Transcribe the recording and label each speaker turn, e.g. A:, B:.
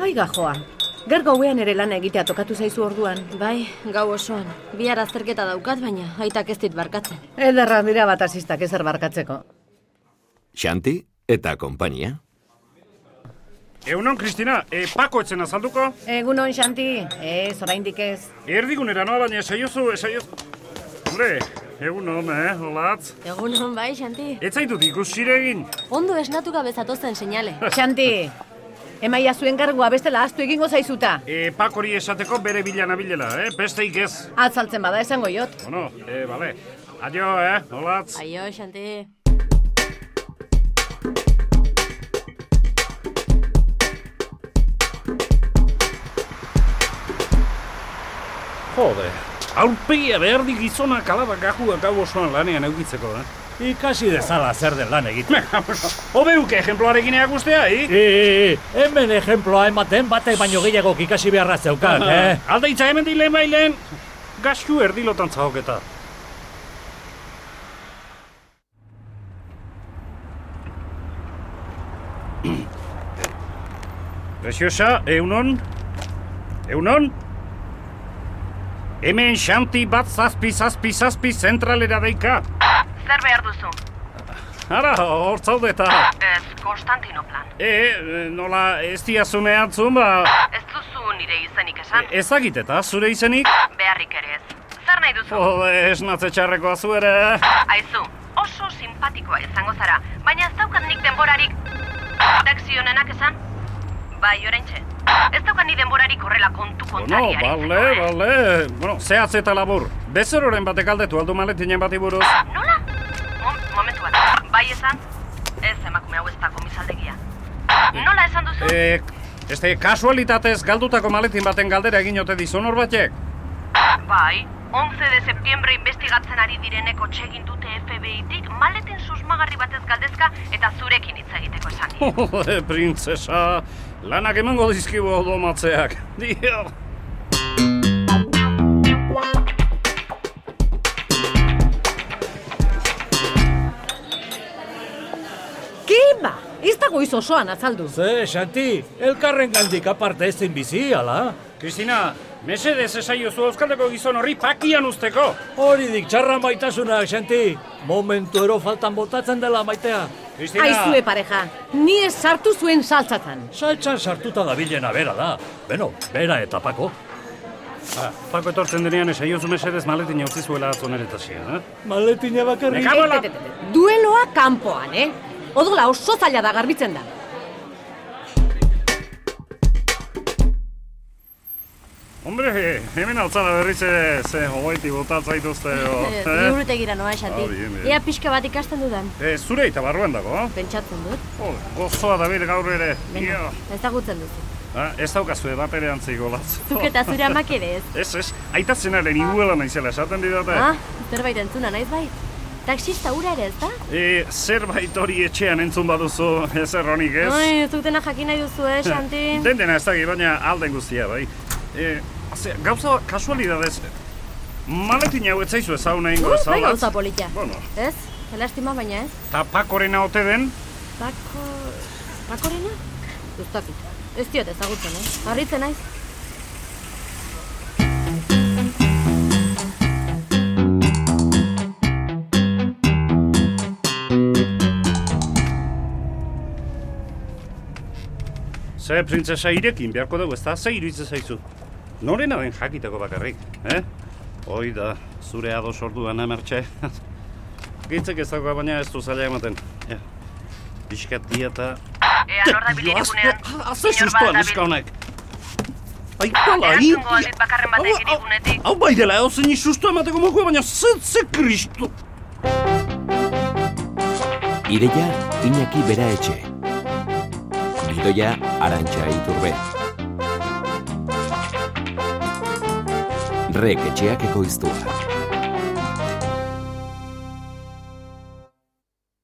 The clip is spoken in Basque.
A: Liga joa. Ger gauean ere lana egitea tokatu zaizu orduan.
B: Bai, gau osoan. Bihar azterketa daukat, baina aitak ez dit barkatzen.
A: Ederra dira bat asistak ezer barkatzeko.
C: Xanti eta konpainia.
D: Eunon, Kristina, e, pako etzen azalduko?
A: Egunon, Xanti. Ez, oraindik ez.
D: Erdigunera noa, baina esaiozu, esaiozu... Hombre, egunon, eh, olatz.
B: Egun hon bai, Xanti.
D: Ez zaitut ikusire egin.
B: Ondo esnatu gabe zatozen seinale.
A: Xanti, emaia zuen kargua bestela astu egingo zaizuta.
D: E, pakori esateko bere bila nabilela, eh, besteik ez.
A: Atzaltzen bada esango jot.
D: Bueno, e, bale. Adio, eh, olatz.
B: Aio, Xanti.
D: Jode, aurpegia behar di gizona kalabak gajua gau osoan lanean eukitzeko, eh?
E: Ikasi dezala zer den lan egiten.
D: Obeuke ejemploarekin eh? eagustea, i?
E: E, e, hemen ejemploa ematen batek baino gehiagok ikasi beharra zeukan, eh?
D: Alda itza Bai. hemen dile bailen, gasku erdilotan zahoketa. Preciosa, eunon? Eunon? Hemen xanti bat zazpi zazpi zazpi zentralera deika.
F: Zer behar duzu?
D: Ara, hor zaude eta...
F: Ez, Konstantinoplan.
D: E, e, nola, ez diazune antzun, ba...
F: Ez duzu nire izenik esan,
D: Ezagit eta zure izenik?
F: beharrik ere ez. Zer nahi duzu?
D: Jode, esnatze txarrekoa zu ere.
F: Aizu, oso simpatikoa izango zara, baina ez daukat nik denborarik... Taxi honenak esan? Bai, oraintxe. Ez daukat ni denborarik horrela kontu Eh,
D: Bueno,
F: kontari
D: bale, bale... Bueno, zehatz eta labur. Bezeroren batek aldetu aldu maletinen bati buruz.
F: Nola? Mom, momentu bat. Bai esan? Ez emakume hau ez da komisaldegia. Nola esan duzu?
D: E, este, kasualitatez galdutako maletin baten galdera egin ote dizun hor batek.
F: Bai, 11 de septiembre investigatzen ari direneko txegin dute FBI-tik maleten susmagarri batez galdezka eta zurekin hitz egiteko esan. dit.
D: Jode, printzesa, lanak emango dizkibu odomatzeak. Dio.
A: Kiba! Ez dago iz osoan atzaldu.
E: Ze, Xanti, elkarren gandik aparte ezin bizi, ala?
D: Kristina, mesedez esaiozu euskaldeko gizon horri pakian usteko.
E: Hori dik txarra maitasuna, Xanti. Momentu ero faltan botatzen dela maitea.
D: Kristina,
A: Aizue pareja, ni ez sartu zuen saltzatan.
E: Saltxan sartuta dabilena bera da. Beno, bera eta pako.
D: Ah, Pako etortzen denean esaiozu mesedez maletin utzi zuela atzo nere tasia, eh?
E: Maletina bakarrik.
D: Neka- Kabola!
A: Te, te, te, te. Dueloa kanpoan, eh? Odola oso zaila da garbitzen da.
D: Hombre, hemen altzara berriz ere ze hobaiti botat zaituzte, jo,
B: Eh,
D: eh?
B: Liburutegira noa, Xanti.
D: Ah, bien, bien.
B: Ea pixka bat ikasten dudan.
D: E, zure eta barruan dago,
B: Pentsatzen dut.
D: oh? gozoa da bere gaur ere, dio.
B: Ezagutzen duzu.
D: Ah, ez daukazue bat ere antzik olatz.
B: Zuk eta zure amak ere ez.
D: Ez, ez, aita zenaren iguela naizela esaten didate.
B: Ah, zerbait entzuna, naiz bai. Taxista ura ere ez da?
D: E, zerbait hori etxean entzun baduzu, ez erronik ez?
B: Ai, ez dutena jakin nahi duzu, eh, Xanti?
D: Den dena ez dagi, baina alden guztia, bai. E, ze, gauza kasualidadez, maletin hau ez zaizu ezau nahi ingo
B: Uh, bai
D: ezaulatz.
B: gauza polita.
D: Bueno,
B: Ez? Elastima baina ez?
D: eta pakorena ote den,
B: Bako... Bakorena? Guztakit. Ez diot ezagutzen, eh? Harritzen naiz.
D: ze printzesa irekin beharko dugu, ez da, ze iruditzen zaizu. Norena den jakiteko bakarrik, eh? Hoi da, zure ados orduan amertxe. Gitzek ez dagoa, baina ez du zaila ematen. Ja. Piskat dia eta
F: Ea nor da bilirigunean,
D: Azte sustoa neska honek. Ai, pala, hi.
F: Erantzungo aldit bakarren batek
D: Hau, hau,
F: irigunetik.
D: Hau bai dela, hau zein sustoa emateko mokoa, baina ze, ze kristu.
C: Ideia Iñaki Bera Etxe. Gidoia Arantxa Iturbe. Rek etxeak ekoiztua.